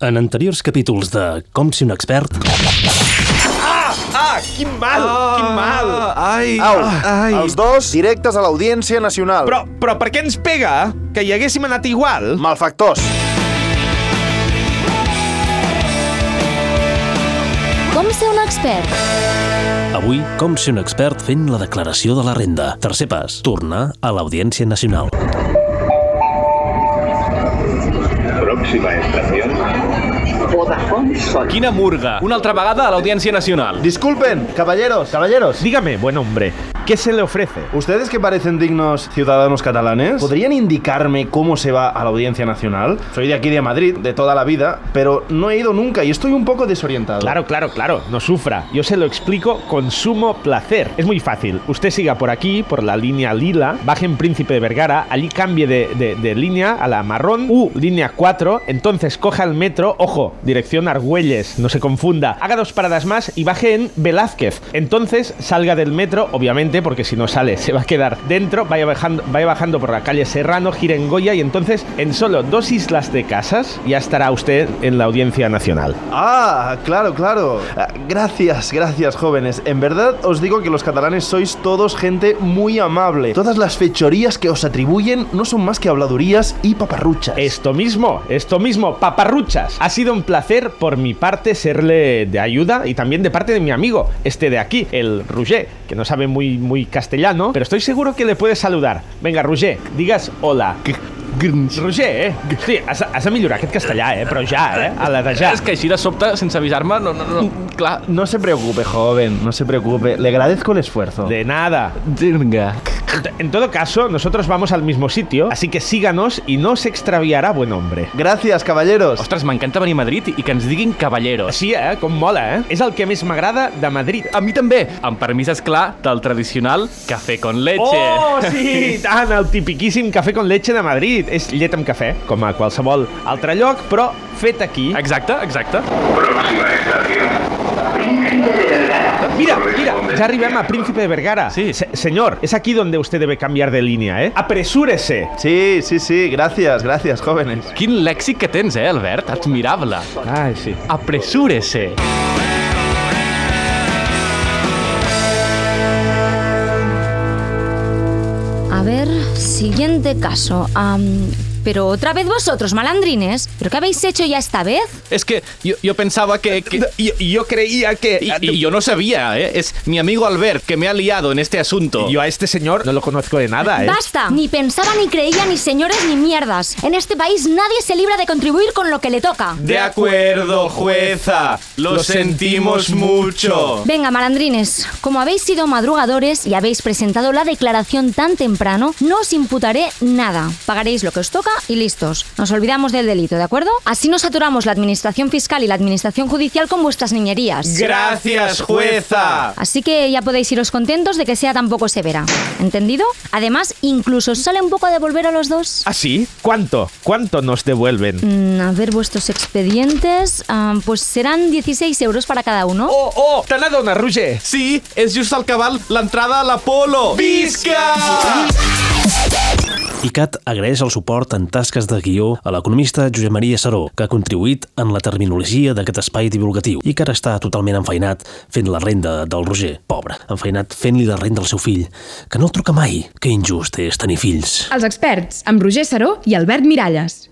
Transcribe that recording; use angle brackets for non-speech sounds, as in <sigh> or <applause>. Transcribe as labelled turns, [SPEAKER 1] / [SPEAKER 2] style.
[SPEAKER 1] En anteriors capítols de Com si un expert...
[SPEAKER 2] Ah, quin mal, ah, quin mal.
[SPEAKER 3] Ai,
[SPEAKER 4] Au,
[SPEAKER 3] ai.
[SPEAKER 4] els dos directes a l'Audiència Nacional.
[SPEAKER 2] Però, però per què ens pega? Que hi haguéssim anat igual?
[SPEAKER 4] Malfactors.
[SPEAKER 5] Com ser un expert?
[SPEAKER 1] Avui, Com si un expert fent la declaració de la renda. Tercer pas, tornar a l'Audiència Nacional.
[SPEAKER 6] Próxima estación.
[SPEAKER 7] Quina murga. Una altra vegada a l'Audiència Nacional.
[SPEAKER 8] Disculpen, caballeros, caballeros.
[SPEAKER 9] Dígame, buen hombre, ¿qué se le ofrece?
[SPEAKER 8] ¿Ustedes que parecen dignos ciudadanos catalanes? ¿Podrían indicarme cómo se va a la Audiencia Nacional? Soy de aquí de Madrid, de toda la vida, pero no he ido nunca y estoy un poco desorientado.
[SPEAKER 9] Claro, claro, claro, no sufra. Yo se lo explico con sumo placer. Es muy fácil. Usted siga por aquí, por la línea lila, baje en Príncipe de Vergara, allí cambie de, de- de línea a la marrón, U, línea 4, entonces coja el metro, ojo, dirección Argüelles, no se confunda, haga dos paradas más y baje en Velázquez. Entonces salga del metro, obviamente, porque si no sale se va a quedar dentro, vaya bajando, vaya bajando por la calle Serrano, gira en Goya y entonces en solo dos islas de casas ya estará usted en la Audiencia Nacional.
[SPEAKER 8] Ah, claro, claro. Ah, Gracias, gracias, jóvenes. En verdad os digo que los catalanes sois todos gente muy amable. Todas las fechorías que os atribuyen no son más que habladurías y paparruchas.
[SPEAKER 9] Esto mismo, esto mismo, paparruchas. Ha sido un placer por mi parte serle de ayuda y también de parte de mi amigo, este de aquí, el Roger, que no sabe muy, muy castellano, pero estoy seguro que le puede saludar. Venga, Roger, digas hola. Roger, eh? Sí, has, has de millorar aquest castellà, eh? Però ja, eh? A la de ja.
[SPEAKER 7] És que així de sobte, sense avisar-me, no, no, no, clar...
[SPEAKER 8] No se preocupe, joven, no se preocupe. Le agradezco el esfuerzo.
[SPEAKER 9] De nada.
[SPEAKER 7] Dirga.
[SPEAKER 9] En todo caso, nosotros vamos al mismo sitio, así que síganos y no se extraviará buen hombre.
[SPEAKER 8] Gracias, caballeros.
[SPEAKER 7] Ostres, m'encanta venir a Madrid i que ens diguin caballeros.
[SPEAKER 9] Sí, eh? Com mola, eh? És el que més m'agrada de Madrid.
[SPEAKER 7] A mi també, amb permís, és clar, del tradicional cafè con leche.
[SPEAKER 9] Oh,
[SPEAKER 7] <laughs>
[SPEAKER 9] sí, i tant, el tipiquíssim cafè con leche de Madrid. És llet amb cafè, com a qualsevol altre lloc, però fet aquí.
[SPEAKER 7] Exacte, exacte.
[SPEAKER 6] Próxima estación.
[SPEAKER 9] Mira, mira, ya arribem a Príncipe de Vergara.
[SPEAKER 7] Sí.
[SPEAKER 9] Se- señor, es aquí donde usted debe cambiar de línea, ¿eh? Apresúrese.
[SPEAKER 8] Sí, sí, sí, gracias, gracias, jóvenes.
[SPEAKER 7] Quin lèxic que tens, eh, Albert? Admirable.
[SPEAKER 9] Ay, sí.
[SPEAKER 7] Apresúrese.
[SPEAKER 5] A ver, siguiente caso. Am, pero otra vez vosotros, malandrines. ¿Pero qué habéis hecho ya esta vez?
[SPEAKER 7] Es que yo, yo pensaba que... que...
[SPEAKER 2] Jo, jo creia que...
[SPEAKER 7] Y, y yo no sabía, ¿eh? Es mi amigo Albert que me ha liado en este asunto.
[SPEAKER 9] Yo a este señor no lo conozco de nada, ¿eh?
[SPEAKER 5] ¡Basta! Ni pensaba, ni creía, ni señores, ni mierdas. En este país nadie se libra de contribuir con lo que le toca.
[SPEAKER 7] De acuerdo, jueza. Lo sentimos mucho.
[SPEAKER 5] Venga, malandrines, como habéis sido madrugadores y habéis presentado la declaración tan temprano, no os imputaré nada. Pagaréis lo que os toca y listos. Nos olvidamos del delito, ¿de acuerdo? Así nos saturamos la administración fiscal y la administración judicial con vuestras niñerías.
[SPEAKER 7] Gracias, jueza.
[SPEAKER 5] Así que ya podéis iros contentos de que sea tan poco severa. ¿Entendido? Además, incluso os sale un poco a devolver a los dos.
[SPEAKER 9] ¿Ah, sí? ¿Cuánto? ¿Cuánto nos devuelven?
[SPEAKER 5] Mm, a ver vuestros expedientes. ah, pues serán 16 euros para cada uno.
[SPEAKER 9] Oh, oh, te una Roger.
[SPEAKER 7] Sí, és just al cabal l'entrada a l'Apolo. Visca!
[SPEAKER 1] ICAT agraeix el suport en tasques de guió a l'economista Josep Maria Saró, que ha contribuït en la terminologia d'aquest espai divulgatiu i que ara està totalment enfeinat fent la renda del Roger, pobre, enfeinat fent-li la renda al seu fill, que no el truca mai. Que injust és tenir fills.
[SPEAKER 10] Els experts, amb Roger Saró i Albert Miralles.